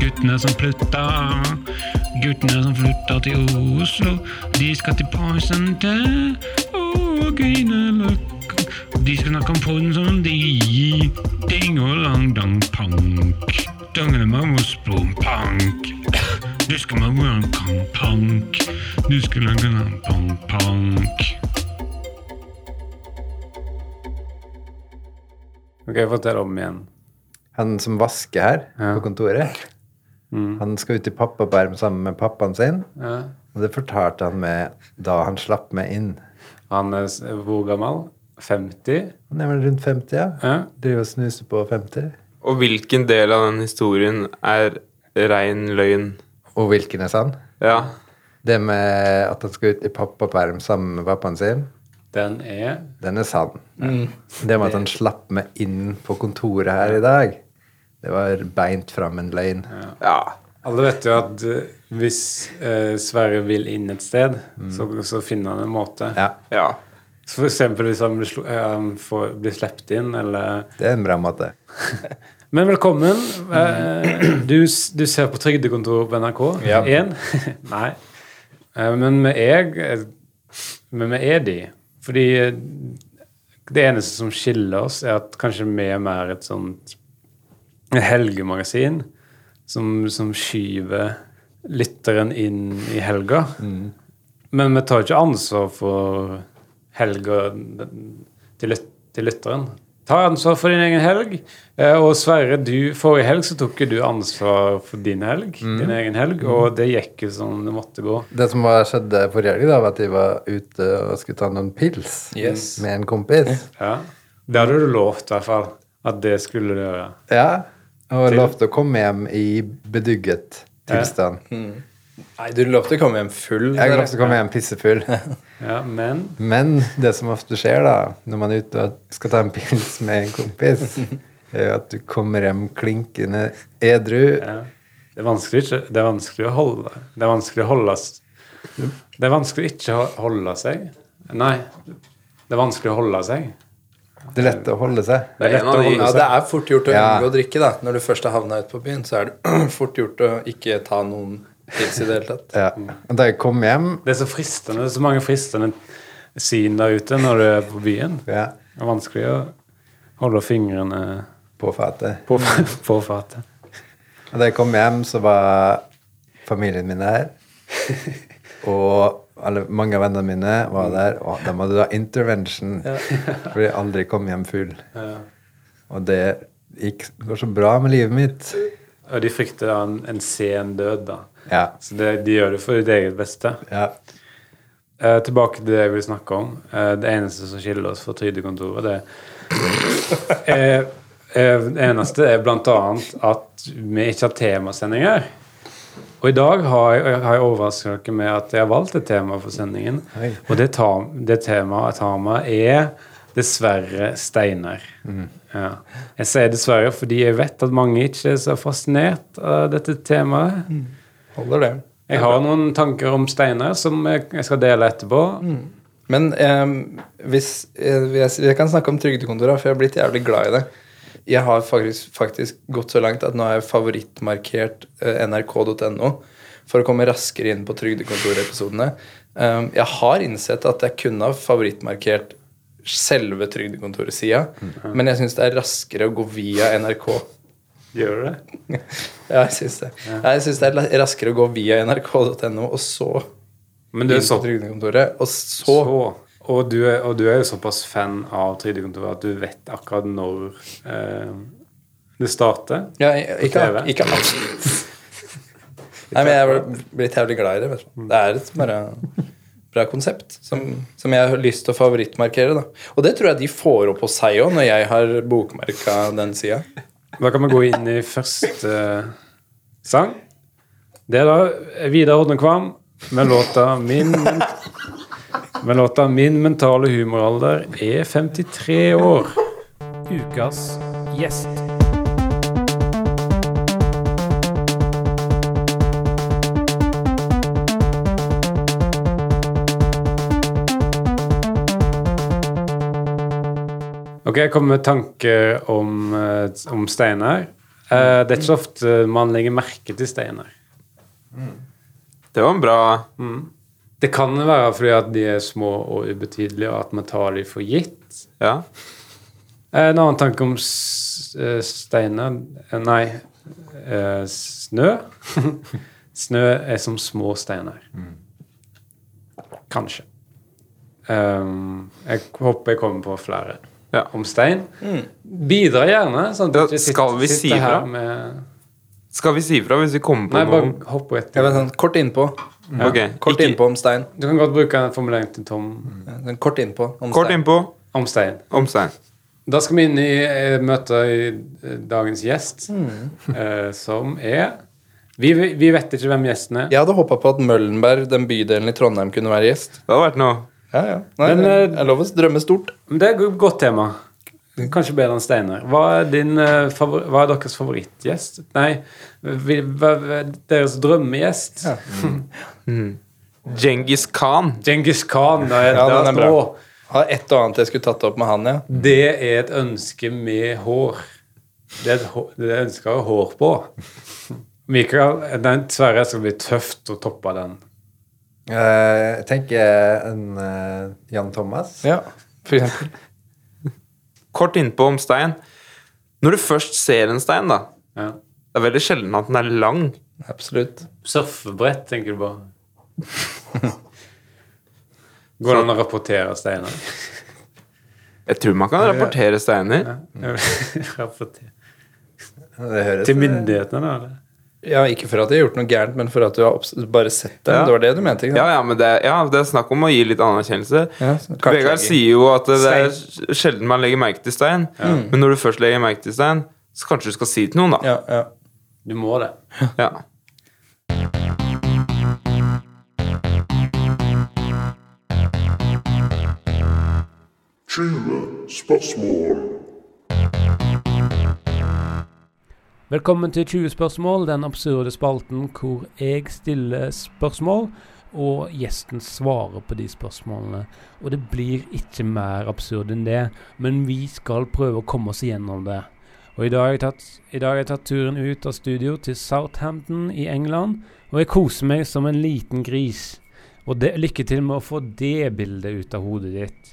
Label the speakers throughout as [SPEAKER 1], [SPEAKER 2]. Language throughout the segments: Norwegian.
[SPEAKER 1] Guttene som flytta, guttene som flytta til Oslo, de skal til Poison til og Grünerløkka. De skal snakke om porn som de Ding og lang dang pank. Dangelemang og sprompank. Du skal man gå lang kan pank. Du skal lang lang pank pank.
[SPEAKER 2] Ok, fortell om igjen.
[SPEAKER 3] Han som vasker her
[SPEAKER 2] Ja.
[SPEAKER 3] på kontoret,
[SPEAKER 2] Mm.
[SPEAKER 3] han skal ut i pappaperm sammen med pappaen sin.
[SPEAKER 2] Ja.
[SPEAKER 3] Og det fortalte han meg da han slapp meg inn.
[SPEAKER 2] Han er s- hvor gammel? 50?
[SPEAKER 3] Han er vel rundt 50, ja.
[SPEAKER 2] Ja.
[SPEAKER 3] Driver og snuser på 50.
[SPEAKER 4] Og hvilken del av den historien er rein løgn?
[SPEAKER 3] Og hvilken er sann?
[SPEAKER 4] Ja.
[SPEAKER 3] Det med at han skal ut i pappaperm sammen med pappaen sin,
[SPEAKER 2] Den er
[SPEAKER 3] den er sann.
[SPEAKER 2] Mm.
[SPEAKER 3] Det med at han slapp meg inn på kontoret her i dag, det var beint fram en løgn.
[SPEAKER 4] ja.
[SPEAKER 2] Alle vet jo at eh, hvis eh, Sverre vil inn et sted, så, så finner han en måte.
[SPEAKER 3] Ja,
[SPEAKER 4] Ja.
[SPEAKER 2] Så for eksempel hvis han blir, slo- eh, han får, blir slept inn, eller
[SPEAKER 3] det er en bra måte.
[SPEAKER 2] Men velkommen. Eh, du, s- du ser på Trygdekontoret på NRK1?
[SPEAKER 3] Ja.
[SPEAKER 2] Nei. Eh, men vi er, eh, men vi er de. Fordi eh, det eneste som skiller oss, er at kanskje vi er mer et sånt helgemagasin som, som skyver lytteren inn i helga. Men vi tar ikke ansvar for helga til, lyt til lytteren. Ta ansvar for din egen helg. Eh, Og Sverre, du, forrige helg så tok jo du ansvar for din helg, din egen helg, og det gikk jo som det måtte gå.
[SPEAKER 3] Det som var skjedde forrige helg, da, var at jeg var ute og skulle ta noen pils
[SPEAKER 5] Yes.
[SPEAKER 3] med en kompis.
[SPEAKER 2] Ja. Det hadde du lovt, i hvert fall, at det skulle du gjøre.
[SPEAKER 3] Ja, og lovte å komme hjem i bedugget tilstand.
[SPEAKER 5] Nei, du lovte å komme hjem full.
[SPEAKER 3] Jeg
[SPEAKER 5] dere.
[SPEAKER 3] lovte å komme hjem pissefull.
[SPEAKER 2] Ja, men
[SPEAKER 3] Men det som ofte skjer da, når man er ute og skal ta en pils med en kompis, er jo at du kommer hjem klinkende edru.
[SPEAKER 2] ja. det, er vanskelig, ikke- det er vanskelig å holde Det er vanskelig å holde s- Det er vanskelig ikke å holde seg. Nei, det er vanskelig å holde seg.
[SPEAKER 3] Det er lett å holde seg.
[SPEAKER 2] Det er lett
[SPEAKER 4] en av
[SPEAKER 2] å
[SPEAKER 4] de-
[SPEAKER 2] holde
[SPEAKER 5] Ja,
[SPEAKER 2] seg.
[SPEAKER 5] det er fort gjort å
[SPEAKER 3] Ja.
[SPEAKER 5] unngå å drikke, da. Når du først har havna ute på byen, så er det fort gjort å ikke ta noen pils i det hele tatt.
[SPEAKER 3] Ja. Og da jeg kom hjem,
[SPEAKER 2] Det er så fristende, det er så mange fristende syn der ute når du er på byen.
[SPEAKER 3] ja,
[SPEAKER 2] Det er vanskelig å holde fingrene
[SPEAKER 3] på fatet,
[SPEAKER 2] på, på fatet.
[SPEAKER 3] Og da jeg kom hjem, så var familien min der. Og alle, mange av vennene mine var der, og de hadde da intervention. Fordi jeg aldri kom hjem full. Og det gikk, går så bra med livet mitt.
[SPEAKER 2] Og de frykter da en, en sen død, da.
[SPEAKER 3] Ja.
[SPEAKER 2] Så det, de gjør det for ditt eget beste.
[SPEAKER 3] ja.
[SPEAKER 2] Eh, tilbake til det jeg vil snakke om. Eh, det eneste som skiller oss fra Trygdekontoret, det er, er, Det eneste er blant annet at vi ikke har temasendinger. Og i dag har jeg, jeg har jeg overrasket dere med at jeg har valgt et tema for sendingen.
[SPEAKER 3] Oi.
[SPEAKER 2] Og det, ta, det temaet jeg tar med, er dessverre steiner. Ja. Jeg sier dessverre fordi jeg vet at mange ikke er så fascinert av dette temaet.
[SPEAKER 5] Holder det.
[SPEAKER 2] Jeg har noen tanker om steiner som jeg jeg skal dele etterpå.
[SPEAKER 5] Men eh, hvis eh, jeg, jeg kan snakke om Trygdekontoret, for jeg har blitt jævlig glad i det. Jeg har faktisk, faktisk gått så langt at nå har jeg favorittmarkert eh, nrk.no for å komme raskere inn på Trygdekontorepisodene. Um, jeg har innsett at jeg kunne ha favorittmarkert selve Trygdekontoret-sida,
[SPEAKER 2] Mm,
[SPEAKER 5] men jeg syns det er raskere å gå via NRK.
[SPEAKER 2] Gjør du det?
[SPEAKER 5] Ja, jeg syns det. Jeg synes det er la- raskere å gå via nrk.no og så
[SPEAKER 2] Men
[SPEAKER 5] inn
[SPEAKER 2] du er
[SPEAKER 5] på
[SPEAKER 2] så,
[SPEAKER 5] Trygdekontoret, og så,
[SPEAKER 2] så og, du er, og du er jo såpass fan av 3D-kontoret at du vet akkurat når eh, det starter.
[SPEAKER 5] Ja, i- ikke,
[SPEAKER 2] På TV.
[SPEAKER 5] ikke absolutt. Nei, men jeg er vel blitt jævlig glad i det. Vet du. Det er et bare bra konsept som, som jeg har lyst til å favorittmarkere. Da. Og det tror jeg de får opp hos seg òg, når jeg har bokmerka den sida.
[SPEAKER 2] Da kan vi gå inn i første eh, sang. Det er da Vidar Hodne Kvam med låta min, med låta 'Min mentale humoralder er 53 år'. Ukas gjest. Ok, jeg kommer med tanker om, eh, om Steinar. Eh, det er ikke så ofte man legger merke til steiner.
[SPEAKER 4] Det var en bra
[SPEAKER 2] Det kan være fordi at de er små og ubetydelige, og at man tar dem for gitt.
[SPEAKER 4] Ja.
[SPEAKER 2] Eh, En annen tanke om s- eh, steiner eh, Nei, eh, snø. snø er som små steiner.
[SPEAKER 4] Mm.
[SPEAKER 2] Kanskje. Um, jeg håper jeg kommer på flere
[SPEAKER 4] Ja.
[SPEAKER 2] om stein. Bidra gjerne. Sånn at du
[SPEAKER 4] Ja,
[SPEAKER 2] ikke sitter-
[SPEAKER 4] skal vi
[SPEAKER 2] sitter
[SPEAKER 4] si
[SPEAKER 2] her
[SPEAKER 4] fra?
[SPEAKER 2] Med,
[SPEAKER 4] Skal vi si fra hvis vi kommer på
[SPEAKER 2] nei,
[SPEAKER 4] noe?
[SPEAKER 2] bare hopp
[SPEAKER 5] Jeg
[SPEAKER 2] etter.
[SPEAKER 5] vet, sånn, kort innpå.
[SPEAKER 4] Ok,
[SPEAKER 5] Kort
[SPEAKER 4] ikke-
[SPEAKER 5] innpå om stein.
[SPEAKER 2] Du kan godt bruke den formuleringen til Tom
[SPEAKER 4] Mm.
[SPEAKER 5] Ja, sånn, Kort innpå om
[SPEAKER 4] Kort
[SPEAKER 5] stein.
[SPEAKER 4] innpå
[SPEAKER 2] om stein.
[SPEAKER 4] om stein.
[SPEAKER 2] Da skal vi inn i eh, møtet i eh, dagens gjest,
[SPEAKER 5] Mm.
[SPEAKER 2] eh, som er vi, vi vet ikke hvem gjesten er.
[SPEAKER 5] Jeg hadde håpa på at Møllenberg, den bydelen i Trondheim, kunne være gjest.
[SPEAKER 4] Det hadde vært noe.
[SPEAKER 5] Ja, ja. Nei,
[SPEAKER 2] Men,
[SPEAKER 5] det
[SPEAKER 2] eh,
[SPEAKER 5] er lov å drømme stort.
[SPEAKER 2] Men det er et godt tema. Kanskje bedre enn Steinar. Hva, er din, eh, favor hva er deres favorittgjest? Nei, vi, hva, hva er deres drømmegjest?
[SPEAKER 5] Ja.
[SPEAKER 4] Djengis Khan.
[SPEAKER 2] Genghis Khan. Da er,
[SPEAKER 5] Ja,
[SPEAKER 2] da-
[SPEAKER 5] den er bra.
[SPEAKER 2] Å,
[SPEAKER 5] Har et og annet jeg skulle tatt opp med han, ja.
[SPEAKER 2] det er et ønske med hår. Det er et hår, det er et ønske å ha hår på. Mikael, den Sverre skal bli tøft å toppe den.
[SPEAKER 3] Eh, Jeg tenker en eh, Jan Thomas.
[SPEAKER 5] ja. For eksempel.
[SPEAKER 4] Kort innpå om stein. Når du først ser en stein, da
[SPEAKER 2] Ja.
[SPEAKER 4] Det er veldig sjelden at den er lang.
[SPEAKER 5] Absolutt.
[SPEAKER 2] Surfebrett, tenker du på. Går det an å rapportere Steinar?
[SPEAKER 4] Jeg tror man kan rapportere steiner.
[SPEAKER 2] Rapportere.
[SPEAKER 3] Det høres
[SPEAKER 2] Til myndighetene, da? eller?
[SPEAKER 5] Ja, Ikke for at jeg har gjort noe gærent, men for at du har obs- bare sett dem.
[SPEAKER 4] Ja.
[SPEAKER 5] Det var det du mente? ikke
[SPEAKER 4] Ja,
[SPEAKER 5] sant?
[SPEAKER 4] ja, men det er, ja, det er snakk om å gi litt anerkjennelse.
[SPEAKER 5] Ja, så-
[SPEAKER 4] Vegard sier jo at det er sjelden man legger merke til stein. Men når du først legger merke til stein, så kanskje du skal si det til noen, da.
[SPEAKER 5] Ja, ja.
[SPEAKER 2] Du må det.
[SPEAKER 4] Ja.
[SPEAKER 6] Tjue spørsmål.
[SPEAKER 7] Velkommen til 20 spørsmål, den absurde spalten hvor jeg stiller spørsmål, og gjesten svarer på de spørsmålene. Og det blir ikke mer absurd enn det, men vi skal prøve å komme oss igjennom det. Og i dag har jeg tatt, i dag har jeg tatt turen ut av studio til Southampton i England, og jeg koser meg som en liten gris. Og det, lykke til med å få det bildet ut av hodet ditt.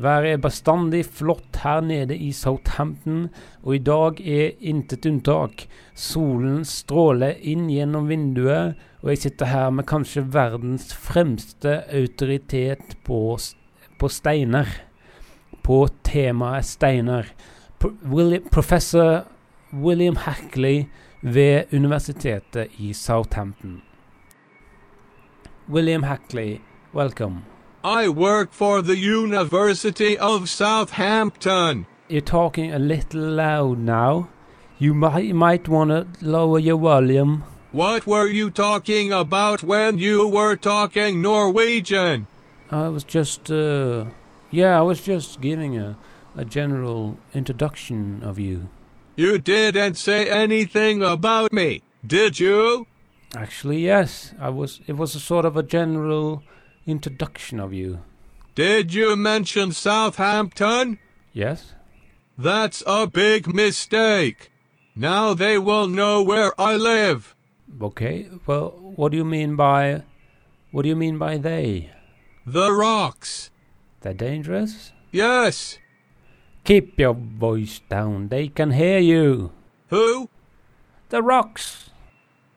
[SPEAKER 7] Været er bestandig flott her nede i Southampton, og i dag er intet unntak. Solen stråler inn gjennom vinduet, og jeg sitter her med kanskje verdens fremste autoritet på, s- på steiner. På temaet steiner. Pro- Willi- Professor William Hackley ved Universitetet i Southampton. William Hackley, welcome.
[SPEAKER 8] I work for the University of Southampton.
[SPEAKER 7] you're talking a little loud now. You might might want to lower your volume.
[SPEAKER 8] What were you talking about when you were talking Norwegian?
[SPEAKER 7] I was just, uh, yeah, I was just giving a, a general introduction of you.
[SPEAKER 8] You didn't say anything about me, did you?
[SPEAKER 7] Actually, yes, I was. It was a sort of a general introduction of you.
[SPEAKER 8] Did you mention Southampton?
[SPEAKER 7] Yes.
[SPEAKER 8] That's a big mistake. Now they will know where I live.
[SPEAKER 7] Okay. Well, what do you mean by, what do you mean by they?
[SPEAKER 8] The rocks.
[SPEAKER 7] They're dangerous.
[SPEAKER 8] Yes.
[SPEAKER 7] Keep your voice down. They can hear you.
[SPEAKER 8] Who?
[SPEAKER 7] The rocks.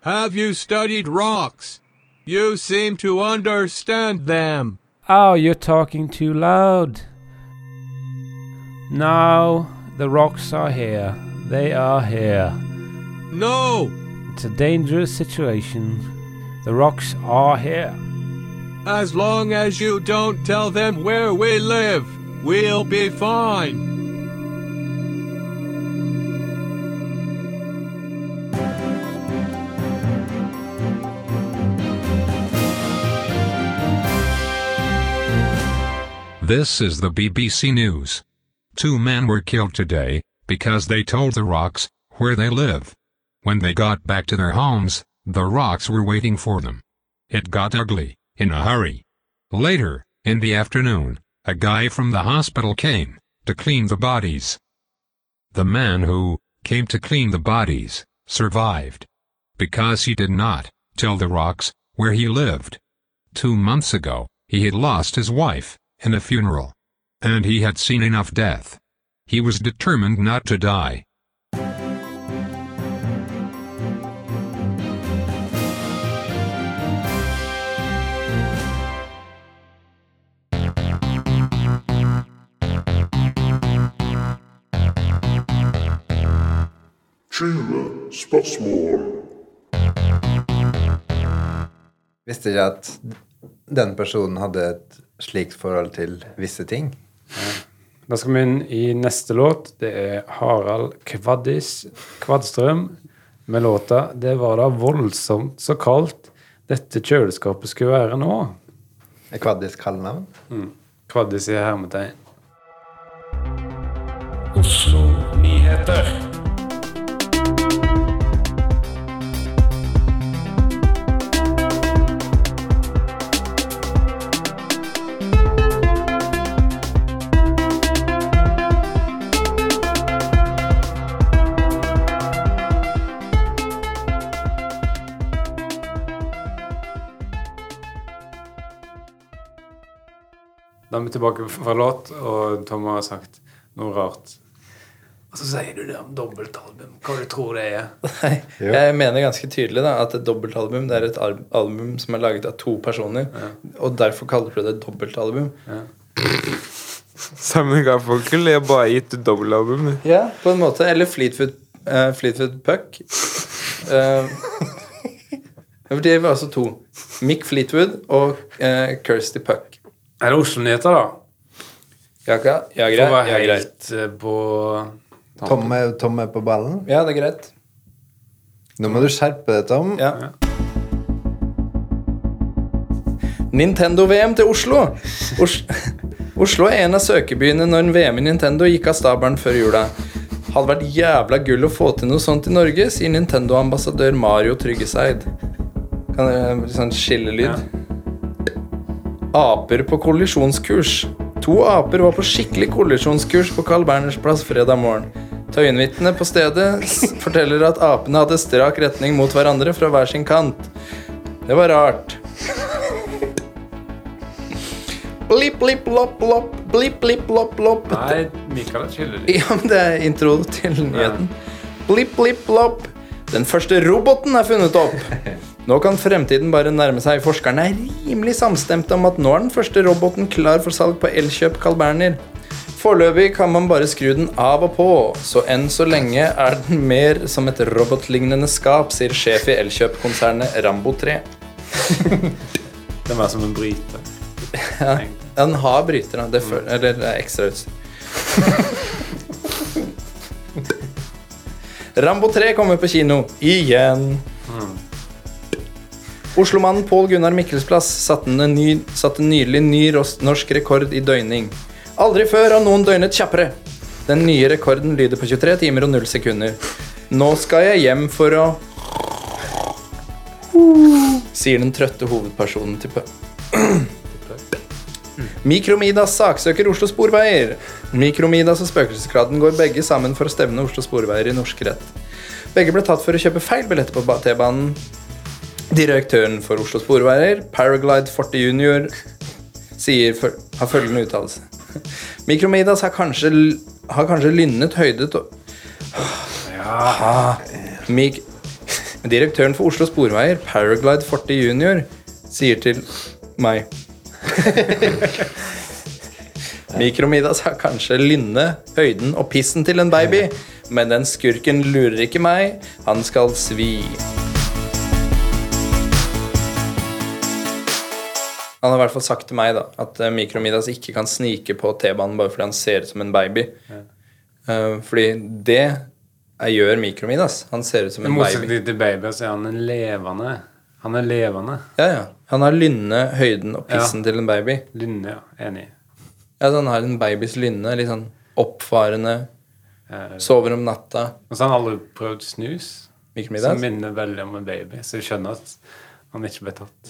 [SPEAKER 8] Have you studied rocks? You seem to understand them.
[SPEAKER 7] Oh, you're talking too loud. Now the rocks are here. They are here.
[SPEAKER 8] No!
[SPEAKER 7] It's a dangerous situation. The rocks are here.
[SPEAKER 8] As long as you don't tell them where we live, we'll be fine.
[SPEAKER 9] This is the BBC News. Two men were killed today because they told the rocks where they live. When they got back to their homes, the rocks were waiting for them. It got ugly, in a hurry. Later, in the afternoon, a guy from the hospital came to clean the bodies. The man who came to clean the bodies, survived. Because he did not tell the rocks where he lived. Two months ago, he had lost his wife in a funeral. And he had seen enough death. He was determined not to die.
[SPEAKER 6] Tjue spørsmål.
[SPEAKER 3] Visste ikke at den personen hadde et slikt forhold til visse ting.
[SPEAKER 2] Da skal vi inn i neste låt. Det er Harald Kvaddis Kvadstrøm med låta 'Det var da voldsomt så kaldt dette kjøleskapet skulle være nå'.
[SPEAKER 3] Et kvaddisk kallenavn.
[SPEAKER 2] Kvaddis i hermetegn. Da er vi tilbake fra låt, og Tom har sagt noe rart. Og så sier du det om dobbeltalbum. Hva du tror det er.
[SPEAKER 5] Nei, jeg mener ganske tydelig da, at et dobbeltalbum det er et al- album som er laget av to personer. Og derfor kaller du det et dobbeltalbum.
[SPEAKER 4] Simon Garfunkel har bare gitt ut dobbeltalbum.
[SPEAKER 5] Ja, på en måte. Eller Fleetwood, eh, Fleetwood Puck. Eh, for det var altså to. Mick Fleetwood og eh, Kirsty Puck.
[SPEAKER 2] Er det Oslo-nyheter, da?
[SPEAKER 5] Ja, ja, ja,
[SPEAKER 2] For å
[SPEAKER 5] greit,
[SPEAKER 2] være
[SPEAKER 5] ja, greit.
[SPEAKER 2] helt eh, på
[SPEAKER 3] Tom er, Tom er på ballen.
[SPEAKER 5] Ja, det er greit.
[SPEAKER 3] Nå må du skjerpe deg, Tom.
[SPEAKER 5] Ja. Nintendo-VM til Oslo. Os Oslo er en av søkebyene når en VM i Nintendo gikk av stabelen før jula. Hadde vært jævla gull å få til noe sånt i Norge, sier Nintendo-ambassadør Mario Tryggeseid. Kan dere litt sånn skillelyd? Aper på kollisjonskurs. To aper var på skikkelig kollisjonskurs på Carl Berners plass fredag morgen. Tøyenvitnene på stedet s- forteller at apene hadde strak retning mot hverandre fra hver sin kant. Det var rart. Blipp, blipp, lopp, lopp. Blipp, blipp, lopp, lopp.
[SPEAKER 2] Nei, Mikael skylder litt.
[SPEAKER 5] Ja, men det er intro til nyheten. Blipp, blipp, lopp. Den første roboten er funnet opp. Nå kan fremtiden bare nærme seg. Forskerne er rimelig samstemte om at nå er den første roboten klar for salg på Elkjøp Carl Berner. Foreløpig kan man bare skru den av og på, så enn så lenge er den mer som et robotlignende skap, sier sjef i Elkjøp-konsernet Rambo 3.
[SPEAKER 2] Det er mer som en bryter.
[SPEAKER 5] Ja, Den har bryter, da. Det føl- eller det er ekstrautstyr. Rambo 3 kommer på kino igjen. Oslomannen Pål Gunnar Mikkelsplass satte en ny- satte nylig ny ros- norsk rekord i døgning. Aldri før har noen døgnet kjappere. Den nye rekorden lyder på 23 timer og 0 sekunder. Nå skal jeg hjem for å Sier den trøtte hovedpersonen til Pø. Mikromidas saksøker Oslo Sporveier. Mikromidas og Spøkelseskladden går begge sammen for å stevne Oslo Sporveier i norsk rett. Begge ble tatt for å kjøpe feil billetter på ba- T-banen. Direktøren for Oslo Sporveier, Paraglide 40 Junior, sier, føl- har følgende uttalelse. Mikromidas har kanskje, l- har kanskje lynnet høydet og Mik Direktøren for Oslo Sporveier, Paraglide 40 Junior, sier til meg Mikromidas har kanskje lynne, høyden og pissen til en baby, men den skurken lurer ikke meg. Han skal svi. Han har i hvert fall sagt til meg da, at eh, Mikromidas ikke kan snike på T-banen bare fordi han ser ut som en baby. Eh, Fordi det er- gjør Mikromidas. Han ser ut som
[SPEAKER 2] I
[SPEAKER 5] en baby.
[SPEAKER 2] motsetning til Baby så er han en levende. Han er levende.
[SPEAKER 5] Ja, ja. Han har lynne, høyden og pissen til en baby.
[SPEAKER 2] Lynne, ja. Enig.
[SPEAKER 5] Ja, så han har en babys lynne, litt sånn oppfarende,
[SPEAKER 2] Eh,
[SPEAKER 5] sover om natta.
[SPEAKER 2] Og så har han aldri prøvd snus, som
[SPEAKER 5] Mikromiddag.
[SPEAKER 2] minner veldig om en baby. Så jeg skjønner at han ikke ble tatt.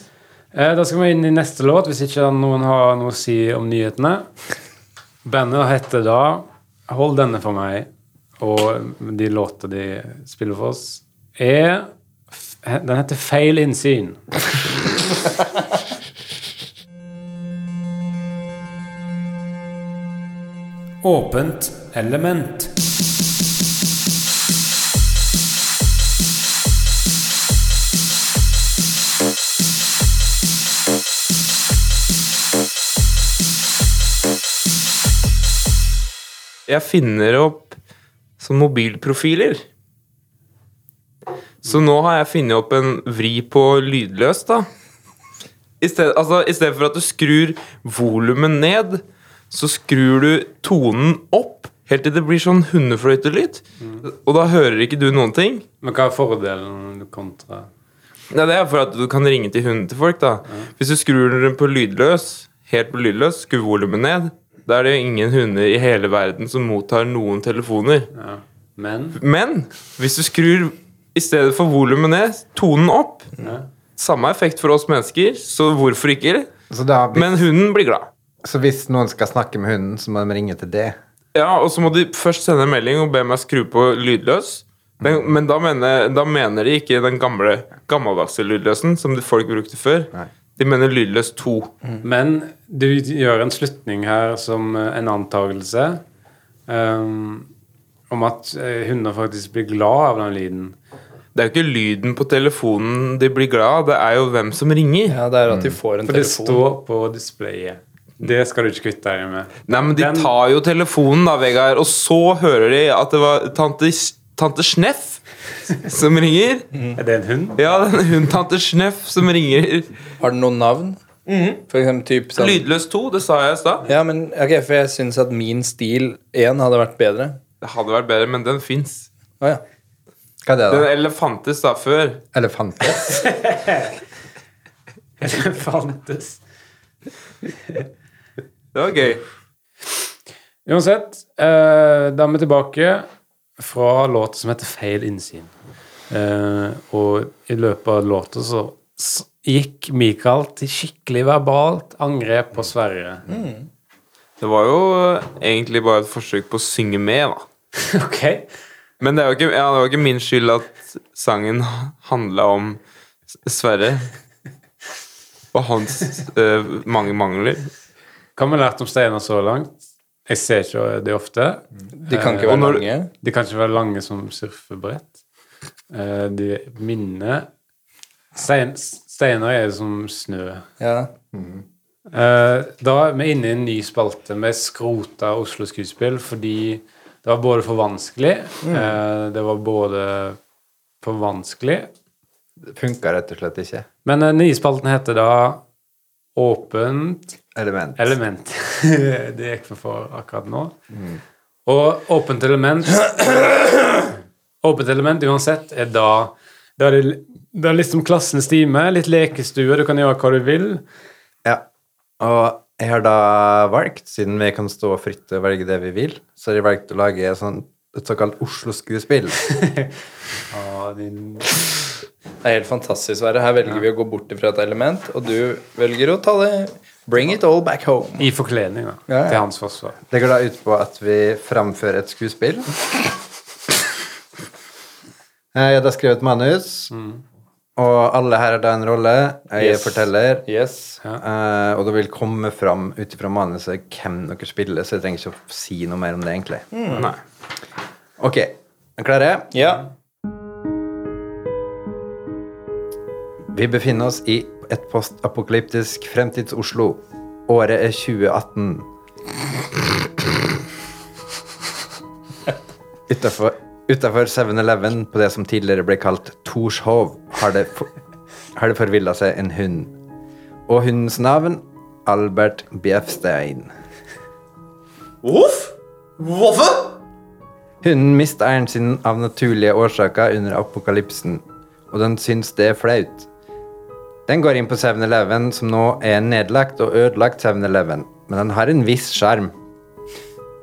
[SPEAKER 2] Eh, da skal vi inn i neste låt, hvis ikke noen har noe å si om nyhetene. Bandet heter da 'Hold denne for meg' Og de låter de spiller for oss, er f- Den heter Feil innsyn.
[SPEAKER 7] Åpent element.
[SPEAKER 4] jeg finner opp sånn mobilprofiler. Så nå har jeg funnet opp en vri på lydløs, da. I sted, altså, I stedet for at du skrur volumet ned, så skrur du tonen opp. Helt til det blir sånn hundefløytelyd. Og da hører ikke du noen ting.
[SPEAKER 2] Men hva er fordelen kontra
[SPEAKER 4] Nei, det er for at du kan ringe til hunden til folk, da. Hvis du skrur den på lydløs, helt på lydløs, skru volumet ned, da er det jo ingen hunder i hele verden som mottar noen telefoner.
[SPEAKER 2] ja. Men
[SPEAKER 4] Men hvis du skrur i stedet for volumet ned, tonen opp Samme effekt for oss mennesker, så hvorfor ikke?
[SPEAKER 3] Så, da, hvis,
[SPEAKER 4] Men hunden blir glad.
[SPEAKER 3] så hvis noen skal snakke med hunden, så må de ringe til det.
[SPEAKER 4] Ja, Og så må de først sende en melding og be meg skru på lydløs. Den, men da mener, da mener de ikke den gamle, gammeldagse lydløsen som de folk brukte før.
[SPEAKER 3] Nei.
[SPEAKER 4] De mener lydløs 2.
[SPEAKER 2] Men du gjør en slutning her som eh, en antakelse ehm, om at eh, hunder faktisk blir glad av den lyden.
[SPEAKER 4] Det er jo ikke lyden på telefonen de blir glad av, det er jo hvem som ringer.
[SPEAKER 5] Ja, Mm. det er at de får en
[SPEAKER 2] For det
[SPEAKER 5] telefon.
[SPEAKER 2] står på displayet. Det skal du ikke kvitte deg med.
[SPEAKER 4] Nei, men de
[SPEAKER 2] Den-
[SPEAKER 4] tar jo telefonen da, Vegard, og så hører de at det var tante, tante Sneff som ringer.
[SPEAKER 2] Mm. Er det en hund?
[SPEAKER 4] Ja, det er hun tante Sneff som ringer.
[SPEAKER 5] Har den noen navn? For eksempel typ sånn
[SPEAKER 4] Lydløs 2, det sa jeg i stad.
[SPEAKER 5] Ja, men ok, for jeg syns at min stil én hadde vært bedre.
[SPEAKER 4] Det hadde vært bedre, men den fins.
[SPEAKER 5] Å ja.
[SPEAKER 3] Hva er det,
[SPEAKER 4] Den
[SPEAKER 3] da?
[SPEAKER 4] elefantes da før.
[SPEAKER 3] Elefantes?
[SPEAKER 2] Det fantes.
[SPEAKER 4] Det var gøy.
[SPEAKER 2] Uansett, eh, da er vi tilbake fra låten som heter Feil innsyn. Eh, og i løpet av låta så s- gikk Mikael til skikkelig verbalt angrep på Sverre.
[SPEAKER 4] Det var jo egentlig bare et forsøk på å synge med, da.
[SPEAKER 2] ok.
[SPEAKER 4] Men det er jo ikke, ja, det var ikke min skyld at sangen handla om S- Sverre. Og hans eh, mange mangler.
[SPEAKER 2] Hva har vi lært om steiner så langt? Jeg ser ikke de ofte.
[SPEAKER 5] De kan ikke
[SPEAKER 4] og
[SPEAKER 5] være
[SPEAKER 4] når-
[SPEAKER 5] lange.
[SPEAKER 2] De kan ikke være lange som surfebrett. Eh, De minner Stein, Steiner er som snø.
[SPEAKER 5] Ja.
[SPEAKER 2] Eh, Da er vi inne i en ny spalte. Vi skrota Oslo Skuespill fordi det var både for vanskelig eh, Det var både for vanskelig
[SPEAKER 3] Det funka rett og slett ikke.
[SPEAKER 2] Men den nye spalten heter da Åpent
[SPEAKER 3] Element.
[SPEAKER 2] element. det gikk vi for akkurat nå. Og åpent element Åpent element uansett er da Da er det, da er det liksom klassens time, litt lekestue, du kan gjøre hva du vil.
[SPEAKER 3] Ja. Og jeg har da valgt, siden vi kan stå fritt og velge det vi vil, så har jeg valgt å lage sånn, et såkalt Oslo-skuespill.
[SPEAKER 2] Ja, din
[SPEAKER 5] Det er helt fantastisk, Sverre. Her velger vi å gå bort fra et element, og du velger å ta det Bring it all back home.
[SPEAKER 2] I forkledning, da.
[SPEAKER 3] Ja, ja.
[SPEAKER 2] Til hans forsvar.
[SPEAKER 3] Det går da ut på at vi framfører et skuespill. Eh, Jeg har da skrevet et manus, og alle her har da en rolle. Jeg
[SPEAKER 5] Mm. Yes.
[SPEAKER 3] forteller.
[SPEAKER 5] Yes.
[SPEAKER 3] eh, og det vil komme fram ut ifra manuset hvem dere spiller, så jeg trenger ikke å si noe mer om det, egentlig.
[SPEAKER 4] Nei.
[SPEAKER 3] Ok, er klare?
[SPEAKER 5] Mm. Ja.
[SPEAKER 3] Vi befinner oss i et postapokalyptisk fremtids-Oslo. Året er 2018. Utafor utenfor 7-Eleven, på det som tidligere ble kalt Torshov, har det, for- har det forvilla seg en hund. Og hundens navn Albert Bjefstein.
[SPEAKER 4] Voff? Voffe?
[SPEAKER 3] Hunden mister eieren sin av naturlige årsaker under apokalypsen, og den syns det er flaut. Den går inn på 7-Eleven, som nå er en nedlagt og ødelagt 7-Eleven, men den har en viss sjarm.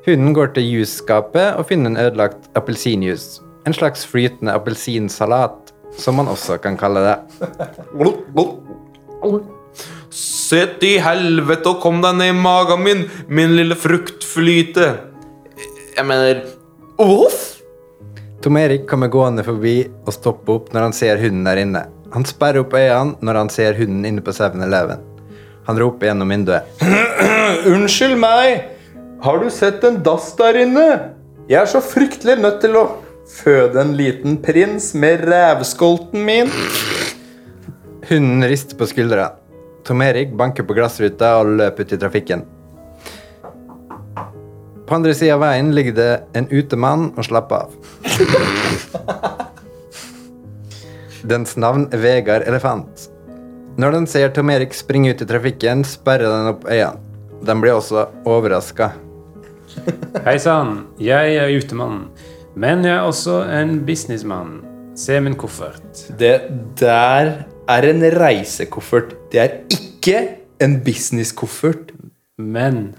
[SPEAKER 3] Hunden går til jusskapet og finner en ødelagt appelsinjuice. En slags flytende appelsinsalat, som man også kan kalle det.
[SPEAKER 4] Sett i helvete og kom deg ned i magen min, min lille fruktflyte. Jeg mener Voff?
[SPEAKER 3] Tom Erik kommer gående forbi og stopper opp når han ser hunden der inne. Han sperrer opp øynene når han ser hunden inne på 7-Eleven. Han roper gjennom vinduet.
[SPEAKER 5] Unnskyld meg! Har du sett en dass der inne? Jeg er så fryktelig nødt til å føde en liten prins med rævskolten min.
[SPEAKER 3] Hunden rister på skuldra. Tom Erik banker på glassruta og løper ut i trafikken. På andre sida av veien ligger det en utemann og slapper av. Dens navn er Vegard Elefant. Når den ser Tom Erik springe ut i trafikken, sperrer den opp øynene. Den blir også overraska.
[SPEAKER 2] Hei sann, jeg er utemann, men jeg er også en businessmann. Se min koffert.
[SPEAKER 5] Det der er en reisekoffert. Det er ikke en businesskoffert.
[SPEAKER 2] Men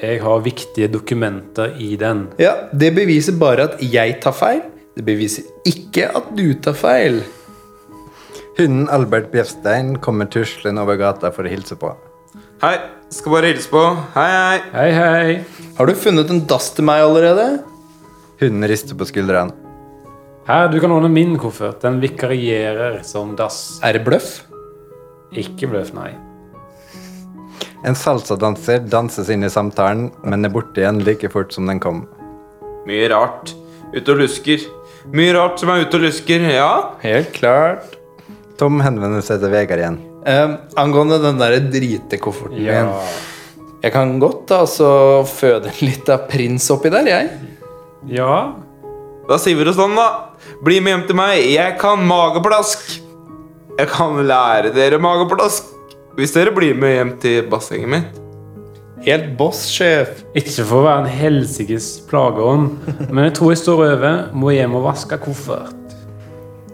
[SPEAKER 2] jeg har viktige dokumenter i den.
[SPEAKER 5] Ja, det beviser bare at jeg tar feil. Det beviser ikke at du tar feil.
[SPEAKER 3] Hunden Albert Bjefstein kommer tuslende over gata for å hilse på.
[SPEAKER 4] Hei, skal bare hilse på. Hei, hei.
[SPEAKER 2] Hei, hei.
[SPEAKER 5] Har du funnet en dass til meg allerede?
[SPEAKER 3] Hunden rister på skuldrene.
[SPEAKER 2] Her, du kan ordne min koffert. Den vikarierer som dass.
[SPEAKER 5] Er det bløff?
[SPEAKER 2] Ikke bløff, nei.
[SPEAKER 3] En salsadanser danses inn i samtalen, men er borte igjen like fort som den kom.
[SPEAKER 4] Mye rart. Ute og lusker. Mye rart som er ute og lusker, ja.
[SPEAKER 5] Helt klart.
[SPEAKER 3] Tom henvender seg til Vegard igjen.
[SPEAKER 5] Eh, angående den der dritekofferten
[SPEAKER 2] Ja.
[SPEAKER 5] min. Jeg kan godt da, altså, føde en liten prins oppi der, jeg.
[SPEAKER 2] ja.
[SPEAKER 4] Da sier vi det sånn, da. Bli med hjem til meg. Jeg kan mageplask. Jeg kan lære dere mageplask. Hvis dere blir med hjem til bassenget mitt.
[SPEAKER 5] Helt boss, sjef.
[SPEAKER 2] Ikke for å være en helsikes plageånd, men jeg tror jeg står over. Må hjem og vaske koffert.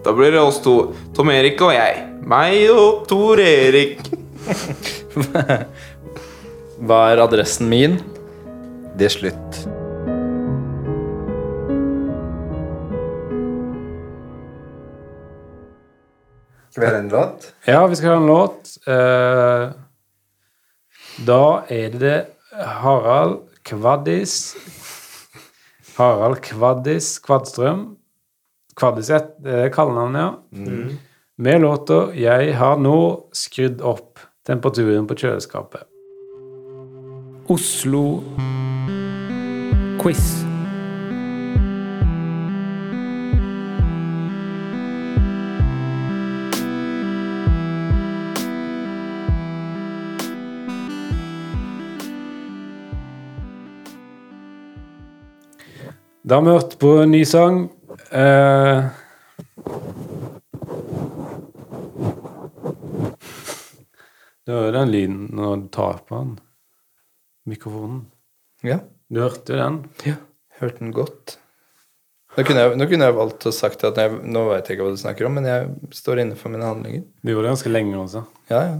[SPEAKER 4] Da blir det oss to. Tom Erik og jeg. Meg og Tor Erik.
[SPEAKER 5] Hva er adressen min?
[SPEAKER 3] Det er slutt. Skal vi høre en låt?
[SPEAKER 2] Ja, vi skal høre en låt. Eh, Da er det Harald Kvaddis Harald Kvaddis Kvadstrøm. Kvaddiset, det er kallenavnet, ja. Med låta 'Jeg har nå skrudd opp temperaturen på kjøleskapet'.
[SPEAKER 7] Oslo Quiz.
[SPEAKER 2] Da har vi hørt på en ny sang. Eh, Du hører den lyden når du tar på den. Mikrofonen.
[SPEAKER 5] Ja,
[SPEAKER 2] Du hørte jo den.
[SPEAKER 5] hørte den godt. Nå kunne jeg, nå kunne jeg valgt å sagt at jeg, nå vet jeg ikke hva du snakker om, men jeg står inne for mine handlinger.
[SPEAKER 2] Du gjorde det ganske lenge altså. også.
[SPEAKER 5] Ja, ja.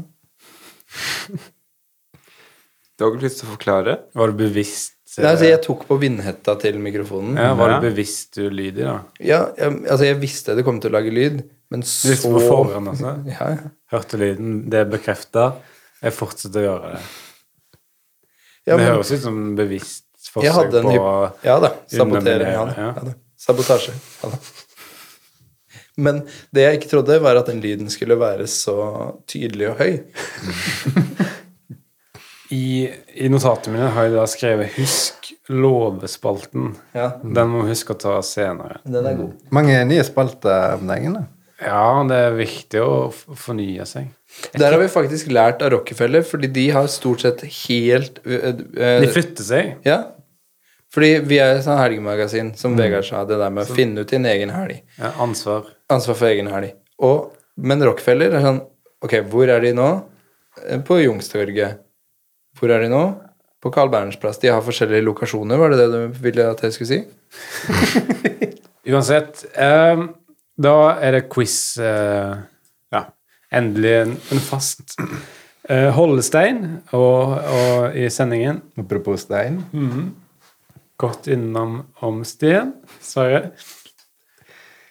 [SPEAKER 4] Du har ikke lyst til å forklare?
[SPEAKER 2] Var du bevisst eh,
[SPEAKER 5] Nei, altså, jeg tok på vindhetta til mikrofonen.
[SPEAKER 2] ja, Var
[SPEAKER 4] Ja.
[SPEAKER 2] du bevisst ulydig, da?
[SPEAKER 5] Ja, jeg, altså, jeg visste det kom til å lage lyd, men så
[SPEAKER 2] Du visste på forhånd altså. også.
[SPEAKER 5] Ja, ja.
[SPEAKER 2] Hørte lyden. Det er bekrefta. Jeg fortsetter å gjøre det.
[SPEAKER 5] Ja,
[SPEAKER 2] det
[SPEAKER 5] men-
[SPEAKER 2] høres ut som bevisst
[SPEAKER 5] Jeg
[SPEAKER 2] forsøk
[SPEAKER 5] hadde en
[SPEAKER 2] på
[SPEAKER 5] hyp... Ja da. Sabotering.
[SPEAKER 2] underminere,
[SPEAKER 5] Ja, da.
[SPEAKER 2] ja.
[SPEAKER 5] Ja, da. Sabotasje. Ja, da. Men det jeg ikke trodde, var at den lyden skulle være så tydelig og høy.
[SPEAKER 2] I, i notatene mine har jeg da skrevet 'Husk låvespalten'.
[SPEAKER 5] Ja.
[SPEAKER 2] Den må vi huske å ta senere.
[SPEAKER 5] Den er god.
[SPEAKER 3] Mange nye spalter om dagen. da.
[SPEAKER 2] Ja, det er viktig å f- fornye seg.
[SPEAKER 5] Der har vi faktisk lært av Rockefeller, fordi de har stort sett helt øh, øh,
[SPEAKER 2] De flytter seg.
[SPEAKER 5] Ja. Fordi vi er et sånt helgemagasin, som Vegard sa, det der med å finne ut din egen helg.
[SPEAKER 2] Ja, ansvar.
[SPEAKER 5] Ansvar for egen helg. Og, men Rockefeller er sånn Ok, hvor er de nå? Eh, På Youngstorget. Hvor er de nå? På Carl Berners plass. De har forskjellige lokasjoner, var det det du ville at jeg skulle si?
[SPEAKER 2] Uansett, ehm, da er det quiz. eh, Endelig en, en fast eh, holdestein og, og i sendingen.
[SPEAKER 3] Apropos stein.
[SPEAKER 2] Kort innom om Sten. Sverre.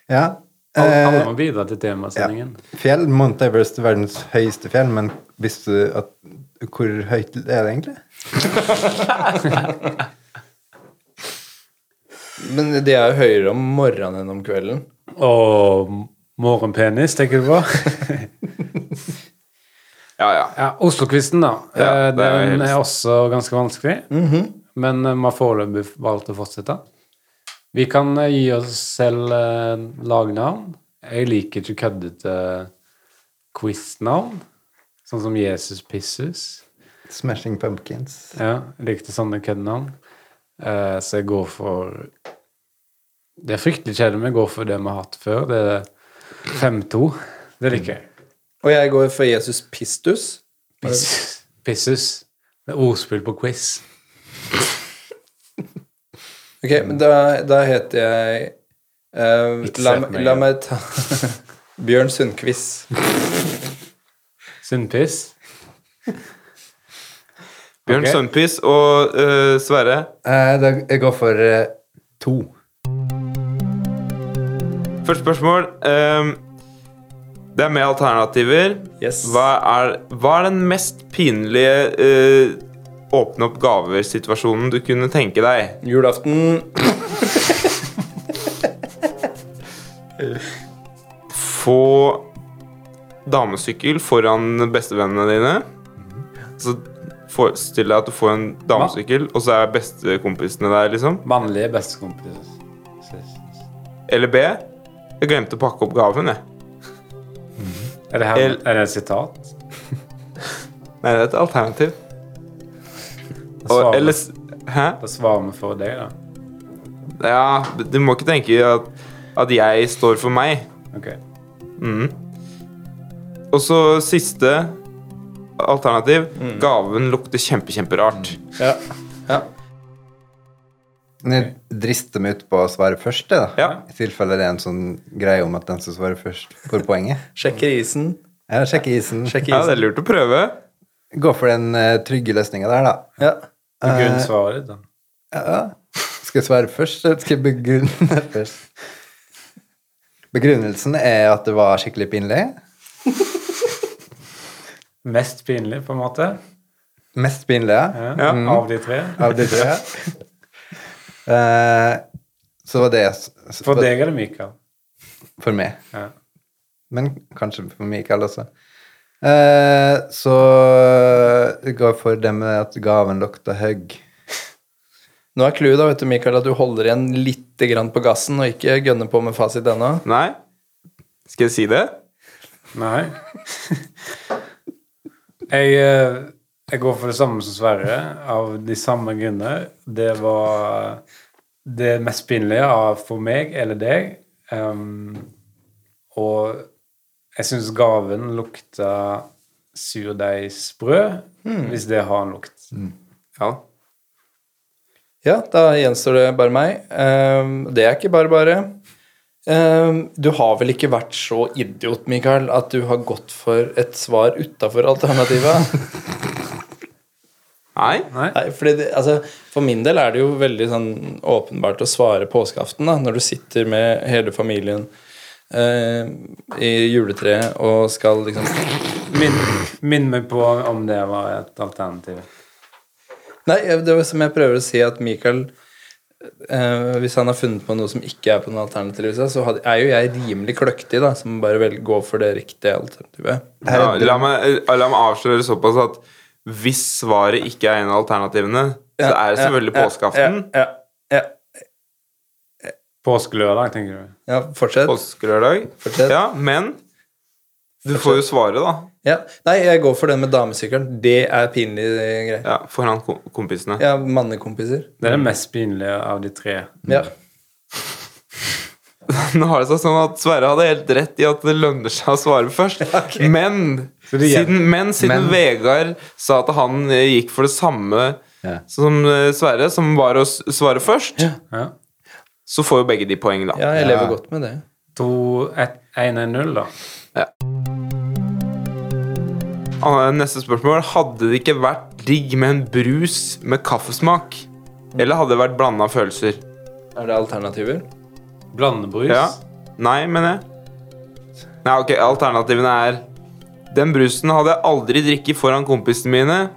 [SPEAKER 3] Ja.
[SPEAKER 2] Alle, alle
[SPEAKER 3] Eh,
[SPEAKER 2] må bidra til temasendingen.
[SPEAKER 3] fjell. Mount Everest er verdens høyeste fjell, men visste du at Hvor høyt er det egentlig?
[SPEAKER 5] Men de er jo høyere om morgenen enn om kvelden.
[SPEAKER 2] Og morgenpenis, tenker du på?
[SPEAKER 4] Ja, ja.
[SPEAKER 2] ja, Oslokvisten, da.
[SPEAKER 4] Ja,
[SPEAKER 2] Eh,
[SPEAKER 4] det er
[SPEAKER 2] Den
[SPEAKER 4] helt- Mhm.
[SPEAKER 2] er også ganske vanskelig. Men eh, vi har foreløpig valgt å fortsette. Vi kan eh, gi oss selv eh, lagnavn. Jeg liker ikke køddete quiznavn. Sånn som Jesus Pisses.
[SPEAKER 3] Smashing Pumpkins.
[SPEAKER 2] Ja, jeg likte sånne køddenavn. Eh, så jeg går for Det er fryktelig kjedelig, men jeg går for det vi har hatt før. Det er 5-2. Det liker jeg.
[SPEAKER 5] Og jeg går for Jesus Pistus.
[SPEAKER 4] Mm.
[SPEAKER 2] Piss- Pissus. Det er ordspill på quiz.
[SPEAKER 5] Ok, men da, da heter jeg eh,
[SPEAKER 2] Mm. Ikke
[SPEAKER 5] la,
[SPEAKER 2] sett
[SPEAKER 5] meg-
[SPEAKER 2] meg
[SPEAKER 5] la
[SPEAKER 2] igjen.
[SPEAKER 5] meg ta Bjørn Sundquist.
[SPEAKER 2] Sunnpiss.
[SPEAKER 4] Bjørn
[SPEAKER 2] Ok.
[SPEAKER 4] Sundquist og eh, Sverre.
[SPEAKER 3] Eh, da, jeg går for eh, to.
[SPEAKER 4] Første spørsmål. ehm, det er med alternativer.
[SPEAKER 5] Yes.
[SPEAKER 4] Hva, er, hva er den mest pinlige eh, åpne opp gaver-situasjonen du kunne tenke deg?
[SPEAKER 5] Julaften.
[SPEAKER 4] Få damesykkel foran bestevennene dine. Så forestill deg at du får en damesykkel, og så er bestekompisene der, liksom.
[SPEAKER 2] Mannlige bestekompiser.
[SPEAKER 4] Eller B. Jeg glemte å pakke opp gaven, jeg.
[SPEAKER 2] Er det, her,
[SPEAKER 4] El-
[SPEAKER 2] er det et sitat?
[SPEAKER 4] Nei, det er et alternativ.
[SPEAKER 2] Da
[SPEAKER 4] Og,
[SPEAKER 2] svarer,
[SPEAKER 4] eller s- Hæ?
[SPEAKER 2] da svarer vi for deg, da.
[SPEAKER 4] Ja, du må ikke tenke at, at jeg står for meg.
[SPEAKER 2] Ok.
[SPEAKER 4] Og så siste alternativ. Gaven lukter kjempe, kjemperart.
[SPEAKER 3] Men jeg drister meg ut på å svare først, jeg, da.
[SPEAKER 4] Ja.
[SPEAKER 3] I tilfelle det er en sånn greie om at den som svarer først, får poenget.
[SPEAKER 5] Sjekker isen.
[SPEAKER 3] Ja, sjekke isen.
[SPEAKER 4] Ja, det er lurt å prøve.
[SPEAKER 3] Gå for den eh, trygge løsninga der, da.
[SPEAKER 5] Ja.
[SPEAKER 4] Eh.
[SPEAKER 2] Begrunn svaret ditt, da.
[SPEAKER 3] Skal jeg svare først, eller skal jeg begrunne først? Begrunnelsen er at det var skikkelig pinlig.
[SPEAKER 2] Mest pinlig, på en måte,
[SPEAKER 3] Mest pinlig, ja. Mm.
[SPEAKER 2] ja. av de tre.
[SPEAKER 4] Mm.
[SPEAKER 3] Av de tre. Eh, så var det s- s-
[SPEAKER 2] For deg er det Mikael.
[SPEAKER 3] For meg.
[SPEAKER 2] Ja.
[SPEAKER 3] Men kanskje for Mikael også. Eh, så det går for det med at gaven lukter høgg.
[SPEAKER 5] Nå er clouet, da, vet du, Mikael, at du holder igjen lite grann på gassen og ikke gønner på med fasit ennå.
[SPEAKER 4] Nei? Skal jeg si det?
[SPEAKER 2] Nei. Jeg, eh, jeg går for det samme som Sverre, av de samme grunner. Det var det mest pinlige av for meg eller deg. Ehm, og jeg syns gaven lukta surdeigsbrød, hvis det har en lukt.
[SPEAKER 4] Ja.
[SPEAKER 5] Ja, da gjenstår det bare meg. Ehm, det er ikke bare bare. Ehm, du har vel ikke vært så idiot, Mikael, at du har gått for et svar utafor alternativet?
[SPEAKER 4] Nei?
[SPEAKER 5] Nei, fordi det, altså, For min del er det jo veldig sånn åpenbart å svare påskeaften, da, når du sitter med hele familien eh, i juletreet og skal liksom
[SPEAKER 2] Minn, minn meg på om det var et alternativ.
[SPEAKER 5] Nei, det var som jeg prøver å si, at Michael eh, Hvis han har funnet på noe som ikke er på noe alternativ, så hadde, er jo jeg rimelig kløktig, da, som bare velger gå for det riktige alternativet.
[SPEAKER 4] Ja, la, meg, eh, la meg avsløre såpass at hvis svaret ikke er en av alternativene, så er det selvfølgelig påskeaften.
[SPEAKER 5] Ja, ja, ja,
[SPEAKER 2] Påskelørdag, tenker du.
[SPEAKER 5] ja, fortsett.
[SPEAKER 4] Påskelørdag.
[SPEAKER 5] Fortsett.
[SPEAKER 4] Ja, men du får jo svaret, da.
[SPEAKER 5] Ja. Nei, jeg går for den med damesykkelen. Det er pinlig eh, greie.
[SPEAKER 4] Ja, Foran ko- kompisene.
[SPEAKER 5] Ja, mannekompiser.
[SPEAKER 2] Det er det mest pinlige av de tre.
[SPEAKER 5] Ja.
[SPEAKER 4] Nå har det seg sånn at Sverre hadde helt rett i at det lønner seg å svare først. Men
[SPEAKER 2] det gjelder-
[SPEAKER 4] siden, men,
[SPEAKER 3] Men-
[SPEAKER 4] siden Vegard sa at han eh, gikk for det samme
[SPEAKER 3] Ja.
[SPEAKER 4] som eh, Sverre, som var å s- svare først,
[SPEAKER 2] Ja.
[SPEAKER 4] så får jo begge de poeng, da.
[SPEAKER 5] Ja, jeg lever godt med det.
[SPEAKER 2] 2-1-1-0, da.
[SPEAKER 4] Ah, Neste spørsmål. Hadde det ikke vært digg med en brus med kaffesmak? Eller hadde det vært blanda følelser?
[SPEAKER 5] Er det alternativer?
[SPEAKER 2] Blandebrus.
[SPEAKER 4] Ja. Nei, mener jeg. Nei, ok, alternativene er Den brusen hadde jeg aldri drikket foran kompisene mine.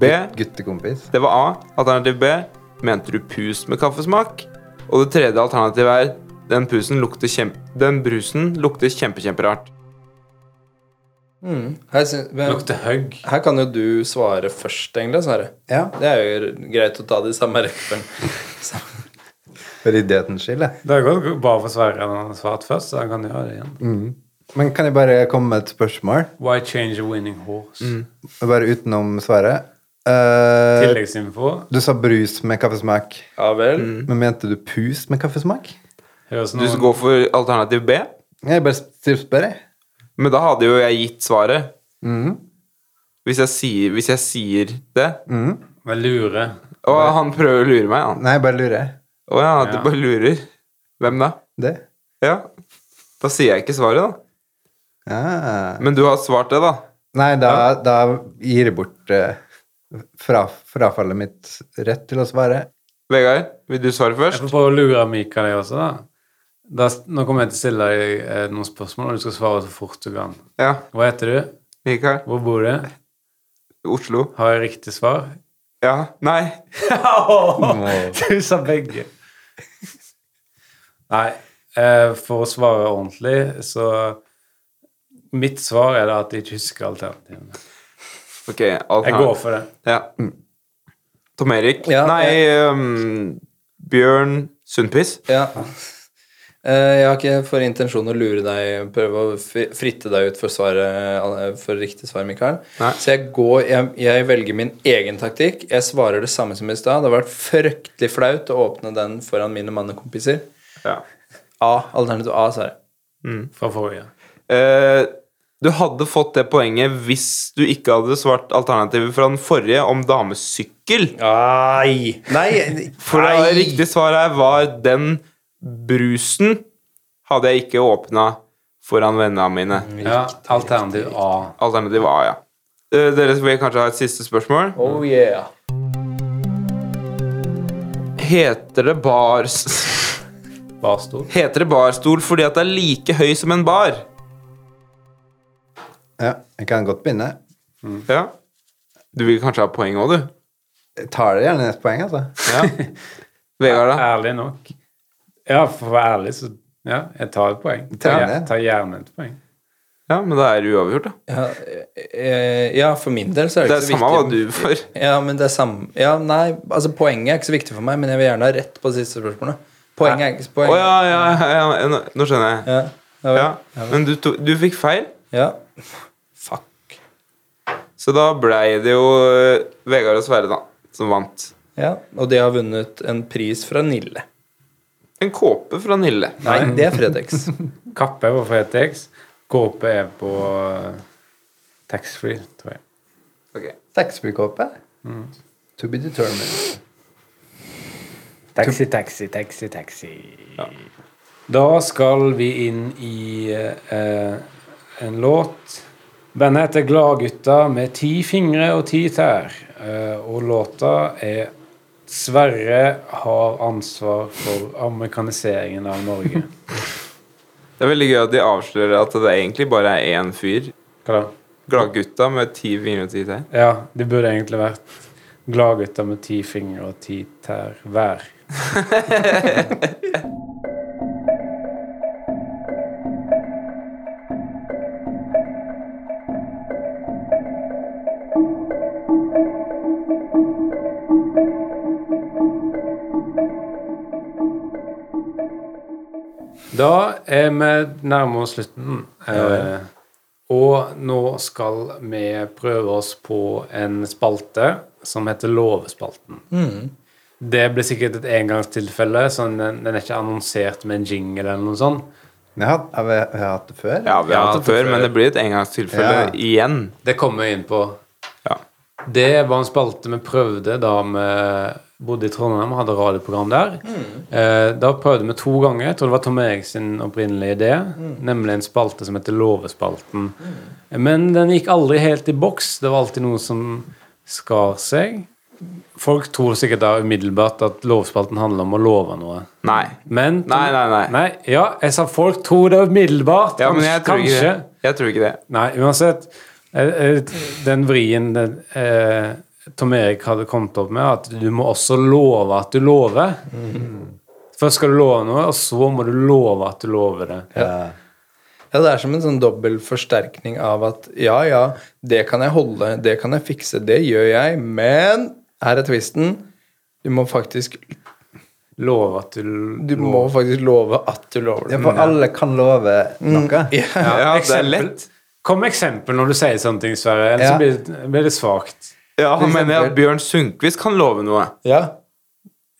[SPEAKER 4] B.
[SPEAKER 3] Guttekompis.
[SPEAKER 4] Det var A. Alternativ B. Mente du pus med kaffesmak? Og det tredje alternativet er den, brusen lukter kjempe, den brusen lukter kjempekjemperart.
[SPEAKER 5] Her, syn- men,
[SPEAKER 2] Lukter hugg.
[SPEAKER 5] her kan jo du svare først, egentlig, Sverre.
[SPEAKER 3] Ja,
[SPEAKER 5] Det er jo greit å ta det i samme rekkefølge.
[SPEAKER 3] for idiotens skyld, jeg.
[SPEAKER 2] Det er godt bare for Sverre han har svart først, så han kan gjøre det igjen.
[SPEAKER 3] Men kan jeg bare komme med et spørsmål?
[SPEAKER 2] Why change a winning horse?
[SPEAKER 4] Mm.
[SPEAKER 3] Bare utenom svaret. Eh,
[SPEAKER 2] Tilleggsinfo.
[SPEAKER 3] du sa brus med kaffesmak.
[SPEAKER 5] Ja vel.
[SPEAKER 3] Men mente du pus med kaffesmak?
[SPEAKER 2] Høres
[SPEAKER 4] Du
[SPEAKER 2] noe
[SPEAKER 4] skal gå for alternativ B,
[SPEAKER 3] Jeg bare stiller spør, jeg.
[SPEAKER 4] men da hadde jo jeg gitt svaret.
[SPEAKER 3] Mhm.
[SPEAKER 4] Hvis, jeg sier, hvis jeg sier det.
[SPEAKER 2] med lure.
[SPEAKER 4] Og han prøver å lure meg, han.
[SPEAKER 3] Mhm. Nei, bare lurer.
[SPEAKER 4] Å ja, du
[SPEAKER 2] Ja.
[SPEAKER 4] bare lurer. Hvem da?
[SPEAKER 3] Det.
[SPEAKER 4] Ja. Da sier jeg ikke svaret, da.
[SPEAKER 3] Ah.
[SPEAKER 4] Men du har svart det, da.
[SPEAKER 3] Nei, da, da gir jeg bort eh, fra, frafallet mitt rett til å svare.
[SPEAKER 4] Vegard, vil du svare
[SPEAKER 2] Jeg
[SPEAKER 4] først?
[SPEAKER 2] får prøve å lure Mikael jeg også, da. da. Nå kommer jeg til å stille deg eh, noen spørsmål, og du skal svare så fort du kan.
[SPEAKER 4] Ja.
[SPEAKER 2] Hva heter du?
[SPEAKER 4] Mikael?
[SPEAKER 2] Hvor bor du?
[SPEAKER 4] Oslo?
[SPEAKER 2] Har jeg riktig svar?
[SPEAKER 4] Ja. Nei.
[SPEAKER 2] Du sa begge. Nei, eh, for å svare ordentlig, så Mitt svar er da at jeg ikke husker alternativene.
[SPEAKER 4] Ok,
[SPEAKER 2] Jeg går for det.
[SPEAKER 4] Ja. Mm. Tom Erik
[SPEAKER 5] Ja,
[SPEAKER 4] Nei,
[SPEAKER 5] jeg-
[SPEAKER 4] ehm, Bjørn Sundquist.
[SPEAKER 5] Ja. Eh, Jeg har ikke for intensjon å lure deg, prøve å fri- fritte deg ut for, svaret, eh, for riktig svar, Mikael.
[SPEAKER 4] Nei.
[SPEAKER 5] Så jeg, går, jeg, jeg velger min egen taktikk. Jeg svarer det samme som i stad. Det har vært fryktelig flaut å åpne den foran mine mannekompiser.
[SPEAKER 4] Ja.
[SPEAKER 5] A. Alternativ A, Sverre.
[SPEAKER 2] Fra forrige.
[SPEAKER 4] Eh, du hadde fått det poenget hvis du ikke hadde svart alternativet fra den forrige om damesykkel.
[SPEAKER 5] Ai. Nei!
[SPEAKER 4] For det riktige svaret her var den brusen hadde jeg ikke åpna foran vennene mine.
[SPEAKER 5] Mm.
[SPEAKER 2] Ja, alternativ A.
[SPEAKER 4] Alternativ A, ja. Eh, dere vil kanskje ha et siste spørsmål?
[SPEAKER 5] Oh yeah.
[SPEAKER 4] Heter det bars...
[SPEAKER 2] Barstol.
[SPEAKER 4] Heter det barstol fordi at det er like høy som en bar?
[SPEAKER 3] Ja, jeg kan godt begynne.
[SPEAKER 4] Ja. Du vil kanskje ha poeng òg, du?
[SPEAKER 3] Jeg tar det gjerne et poeng, altså.
[SPEAKER 4] Ja. Vegard, da?
[SPEAKER 2] Ærlig nok. Ja, for å være ærlig, så Ja, jeg tar et poeng.
[SPEAKER 3] Tar
[SPEAKER 2] Jeg
[SPEAKER 3] det.
[SPEAKER 2] tar gjerne et poeng.
[SPEAKER 4] Ja, men da er det uavgjort, da.
[SPEAKER 5] Ja, eh, ja, for min del så er
[SPEAKER 4] Det
[SPEAKER 5] det,
[SPEAKER 4] er
[SPEAKER 5] ikke så
[SPEAKER 4] samme hva
[SPEAKER 5] viktig.
[SPEAKER 4] du får.
[SPEAKER 5] Ja, men det er samme Ja, nei, altså Poenget er ikke så viktig for meg, men jeg vil gjerne ha rett på det siste spørsmålet. Poenget er ikke
[SPEAKER 4] Å
[SPEAKER 5] poenget.
[SPEAKER 4] ja, ja, ja, ja, nå- nå skjønner jeg.
[SPEAKER 5] Ja. Ja.
[SPEAKER 4] Ja. Men du, to, du fikk feil,
[SPEAKER 5] ja. Fuck.
[SPEAKER 4] så da blei det jo eh, Vegard og Sverre, da, som vant.
[SPEAKER 5] Ja, Og de har vunnet en pris fra Nille.
[SPEAKER 4] En kåpe fra Nille.
[SPEAKER 5] Nei, det er Fredex.
[SPEAKER 2] Kappe er på Fretex. Kåpe er på eh, taxfree, tror jeg.
[SPEAKER 4] Ok.
[SPEAKER 3] Taxfree-kåpe. To be determined.
[SPEAKER 2] Taxi, taxi, taxi, taxi. Da skal vi inn i eh, en låt. Bandet heter Gladgutta med ti fingre og ti tær. Eh, og låta er Sverre har ansvar for amerikaniseringen av Norge.
[SPEAKER 4] Det er veldig gøy at de avslører at det egentlig bare er én fyr.
[SPEAKER 2] Hva da?
[SPEAKER 4] Gladgutta med ti fingre og ti tær.
[SPEAKER 2] Ja, det burde egentlig vært Gladgutta med ti fingre og ti tær hver. Da er vi nærmere oss slutten. Eh, og nå skal vi prøve oss på en spalte som heter Lovespalten. Det blir sikkert et engangstilfelle, sånn den, den er ikke annonsert med en jingle eller noe sånt.
[SPEAKER 3] Jeg har, har, vi, har jeg hatt det før?
[SPEAKER 4] Ja, vi har hatt det før, men det blir et
[SPEAKER 3] Ja.
[SPEAKER 4] engangstilfelle igjen.
[SPEAKER 2] Det kommer jeg inn på.
[SPEAKER 4] Ja.
[SPEAKER 2] Det var en spalte vi prøvde da vi bodde i Trondheim og hadde radioprogram der.
[SPEAKER 4] Mm.
[SPEAKER 2] Eh, da prøvde vi to ganger. Jeg tror det var Tom Erik sin opprinnelige idé.
[SPEAKER 4] Mm.
[SPEAKER 2] Nemlig en spalte som heter Lovespalten. Men den gikk aldri helt i boks. Det var alltid noe som skar seg. Folk tror sikkert da umiddelbart at lovspalten handler om å love noe.
[SPEAKER 4] Nei.
[SPEAKER 2] Men
[SPEAKER 4] Nei, nei, nei.
[SPEAKER 2] ja, jeg sa folk tror det umiddelbart.
[SPEAKER 4] Ja, men jeg tror ikke
[SPEAKER 2] kanskje.
[SPEAKER 4] det. Jeg tror ikke det.
[SPEAKER 2] Nei, uansett. eh, eh, Den vrien den, eh,
[SPEAKER 3] Mhm.
[SPEAKER 2] Tom Erik hadde kommet opp med, at du må også love at du lover. Først skal du love noe, og så må du love at du lover det.
[SPEAKER 3] Ja.
[SPEAKER 5] Ja, det er som en sånn dobbel forsterkning av at ja, ja, det kan jeg holde, det kan jeg fikse, det gjør jeg, men her er tvisten. Du må faktisk,
[SPEAKER 2] Love at du,
[SPEAKER 5] du må faktisk love at du lover det.
[SPEAKER 3] Ja, for alle kan love noe.
[SPEAKER 5] Mm, Ja.
[SPEAKER 4] Ja, det er
[SPEAKER 2] Eksempel.
[SPEAKER 4] lett.
[SPEAKER 2] Kom med eksempel når du sier sånne ting, Sverre. Ellers
[SPEAKER 3] Ja.
[SPEAKER 2] så blir, det- blir det svakt.
[SPEAKER 4] Ja, han mener jeg at Bjørn Sundquist kan love noe.
[SPEAKER 5] Ja.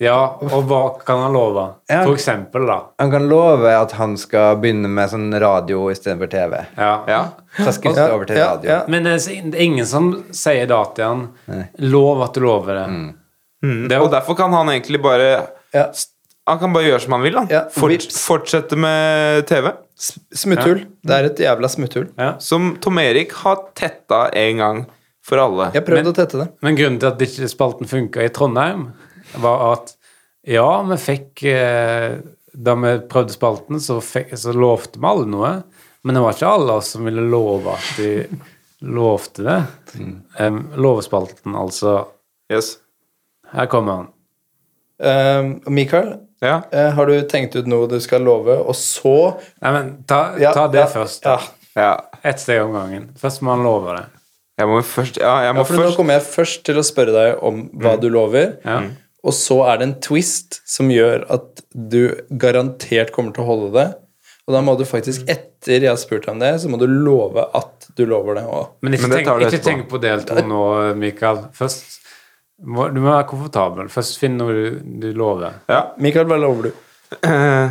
[SPEAKER 2] Ja, og hva kan han love?
[SPEAKER 3] Ja.
[SPEAKER 2] For eksempel, da.
[SPEAKER 3] Han kan love at han skal begynne med sånn radio istedenfor TV.
[SPEAKER 2] Ja.
[SPEAKER 4] Ja.
[SPEAKER 3] Traskes det over til
[SPEAKER 5] ja,
[SPEAKER 3] radio.
[SPEAKER 5] ja.
[SPEAKER 2] Men det er det er ingen som sier da til han
[SPEAKER 3] Nei.
[SPEAKER 2] Lov at du lover det.
[SPEAKER 4] Mm. Og derfor kan han egentlig bare
[SPEAKER 5] Ja.
[SPEAKER 4] Han kan bare gjøre som han vil. Han.
[SPEAKER 5] Ja,
[SPEAKER 4] Fort,
[SPEAKER 5] vips.
[SPEAKER 4] fortsette med TV.
[SPEAKER 5] S- Smutthull. Det er et jævla smutthull.
[SPEAKER 4] Som Tom Erik har tetta en gang for alle.
[SPEAKER 5] Jeg prøvde å tette det.
[SPEAKER 2] Men grunnen til at ikke spalten funka i Trondheim, var at ja, vi fikk eh, Da vi prøvde spalten, så, fikk, så lovte vi alle noe. Men det var ikke alle oss som ville love at de lovte det.
[SPEAKER 4] Mm.
[SPEAKER 2] Um, lovespalten, altså.
[SPEAKER 4] Yes.
[SPEAKER 2] Her kommer han.
[SPEAKER 5] Um, Mikael,
[SPEAKER 4] Ja.
[SPEAKER 5] eh, har du tenkt ut noe du skal love, og så
[SPEAKER 2] Nei, men ta,
[SPEAKER 5] Ja,
[SPEAKER 2] ta det
[SPEAKER 5] ja,
[SPEAKER 2] først.
[SPEAKER 5] Ja.
[SPEAKER 2] da.
[SPEAKER 4] ja.
[SPEAKER 2] Ett steg om gangen. Først må han love det.
[SPEAKER 4] Jeg må først Ja, jeg må
[SPEAKER 5] Ja, for nå
[SPEAKER 4] først
[SPEAKER 5] kommer jeg først til å spørre deg om hva du lover,
[SPEAKER 2] Mm. Ja.
[SPEAKER 5] og så er det en twist som gjør at du garantert kommer til å holde det. Og da må du faktisk,
[SPEAKER 2] Mm.
[SPEAKER 5] etter jeg har spurt deg om det, så må du love at du lover det. Og
[SPEAKER 2] Men ikke,
[SPEAKER 4] Men det
[SPEAKER 2] tenk,
[SPEAKER 4] tar du
[SPEAKER 2] ikke
[SPEAKER 4] etterpå.
[SPEAKER 2] tenk på del to nå, Mikael. Først må, Du må være komfortabel. Først finn noe du, du lover.
[SPEAKER 5] Mikael, hva lover du?
[SPEAKER 4] Eh,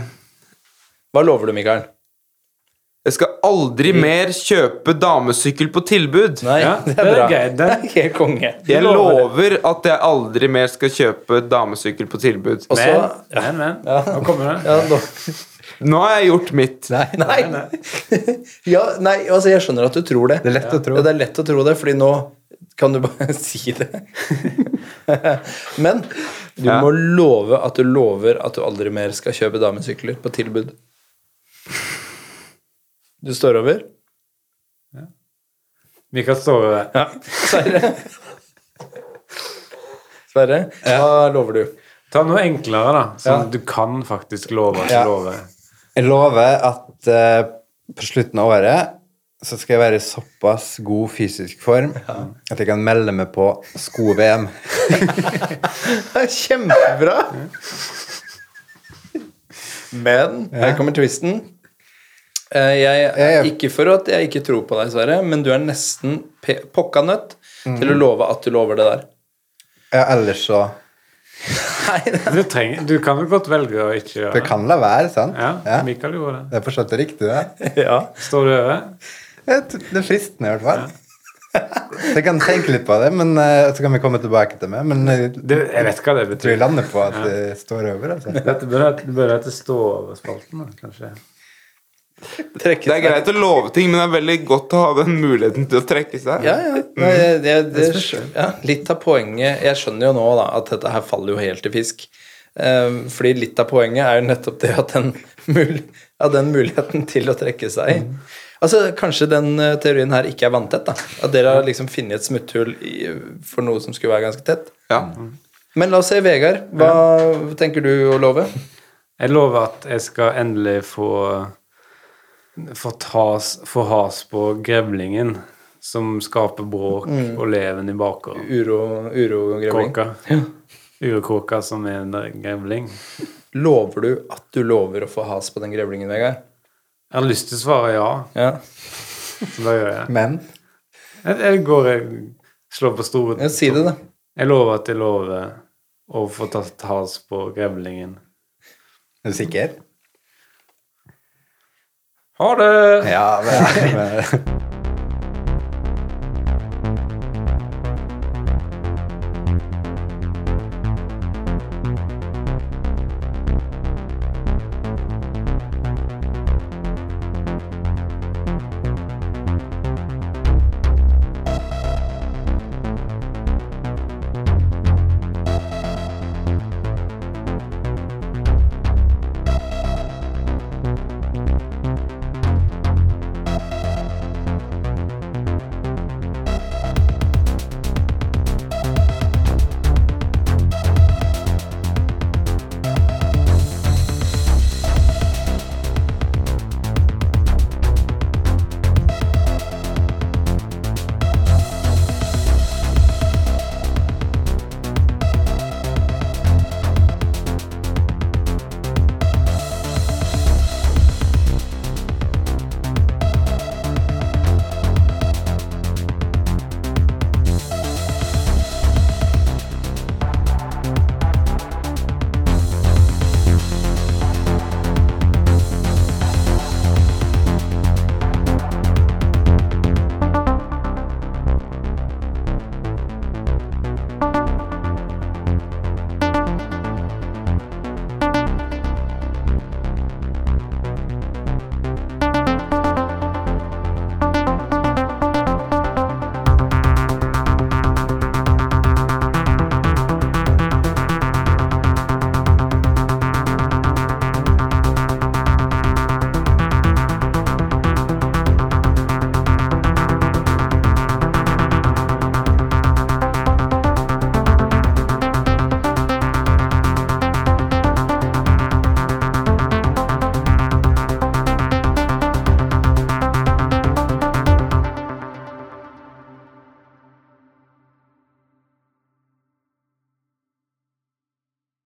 [SPEAKER 5] Hva lover du, Mikael?
[SPEAKER 4] Jeg skal aldri mer kjøpe damesykkel på tilbud.
[SPEAKER 5] Nei,
[SPEAKER 2] Ja,
[SPEAKER 5] det er bra.
[SPEAKER 2] gøy,
[SPEAKER 5] Det
[SPEAKER 2] det.
[SPEAKER 5] er helt konge.
[SPEAKER 4] Jeg lover at jeg aldri mer skal kjøpe damesykkel på tilbud.
[SPEAKER 5] Og så
[SPEAKER 2] Men, men, men. Nå kommer det.
[SPEAKER 5] ja, nå,
[SPEAKER 4] Nå har jeg gjort mitt.
[SPEAKER 5] nei, nei. ja, nei, altså, jeg skjønner at du tror det.
[SPEAKER 3] Det er lett å tro.
[SPEAKER 5] Ja, det er lett å tro det, fordi nå kan du bare si det. Men du
[SPEAKER 4] Ja.
[SPEAKER 5] må love at du lover at du aldri mer skal kjøpe damesykler på tilbud. Du står over?
[SPEAKER 2] Mikael står ved det.
[SPEAKER 5] Ja. Sverre? Sverre, hva lover du?
[SPEAKER 2] Ta noe enklere, da. Sånn
[SPEAKER 5] Ja.
[SPEAKER 2] du kan faktisk love at du
[SPEAKER 3] Ja.
[SPEAKER 2] lover.
[SPEAKER 3] Jeg lover at eh, på slutten av året så skal jeg være i såpass god fysisk form at jeg kan melde meg på sko-VM.
[SPEAKER 5] Kjempebra! Men her kommer twisten. Eh, Jeg er ikke for at jeg ikke tror på deg, Sverre, men du er nesten pe- pokka nødt
[SPEAKER 4] Mm.
[SPEAKER 5] til å love at du lover det der.
[SPEAKER 3] Ja, ellers så
[SPEAKER 5] Nei,
[SPEAKER 2] Du, trenger, du kan jo godt velge å ikke gjøre
[SPEAKER 3] For jeg kan la være, sant?
[SPEAKER 2] Ja,
[SPEAKER 3] Ja.
[SPEAKER 2] Mikael gjorde det.
[SPEAKER 3] Det er forstått riktig, det.
[SPEAKER 5] ja.
[SPEAKER 2] Står du over?
[SPEAKER 3] Jeg tror- Det er fristende, i hvert fall. Så jeg kan tenke litt på det, men eh, så kan vi komme tilbake til meg. Men jeg
[SPEAKER 2] Du, jeg vet hva det
[SPEAKER 3] tror jeg
[SPEAKER 2] betyr.
[SPEAKER 3] lander på at det står over, altså.
[SPEAKER 2] Dette bør, det bør hete stå over spalten, da, kanskje.
[SPEAKER 5] Trekke
[SPEAKER 4] Det er greit å love ting, men det er veldig godt å ha den muligheten til å trekke seg.
[SPEAKER 5] Ja, ja. Nei, jeg- jeg- det, ja. Litt av poenget Jeg skjønner jo nå da, at dette her faller jo helt i fisk. Um, fordi litt av poenget er jo nettopp det at den, mul at den muligheten til å trekke seg Altså, Kanskje den eh, teorien her ikke er vanntett. da. At dere har liksom funnet et smutthull i, for noe som skulle være ganske tett.
[SPEAKER 4] Ja.
[SPEAKER 5] Men la oss se, Vegard. Hva tenker du å love?
[SPEAKER 2] Jeg lover at jeg skal endelig få få, tas, få has på grevlingen som skaper bråk
[SPEAKER 5] Mm.
[SPEAKER 2] og leven i bakgården.
[SPEAKER 5] Uro, urogrevling.
[SPEAKER 2] Kråka. Urkråka som er en grevling.
[SPEAKER 5] Lover du at du lover å få has på den grevlingen, Vegard?
[SPEAKER 2] Jeg har lyst til å svare ja,
[SPEAKER 5] Ja.
[SPEAKER 2] så da gjør jeg det.
[SPEAKER 3] Men
[SPEAKER 2] Jeg, jeg går og slår på store
[SPEAKER 5] ja si det, da.
[SPEAKER 2] Jeg lover at jeg lover å få tatt has på grevlingen.
[SPEAKER 3] er du sikker?
[SPEAKER 2] Ha det!
[SPEAKER 3] Ja, men, men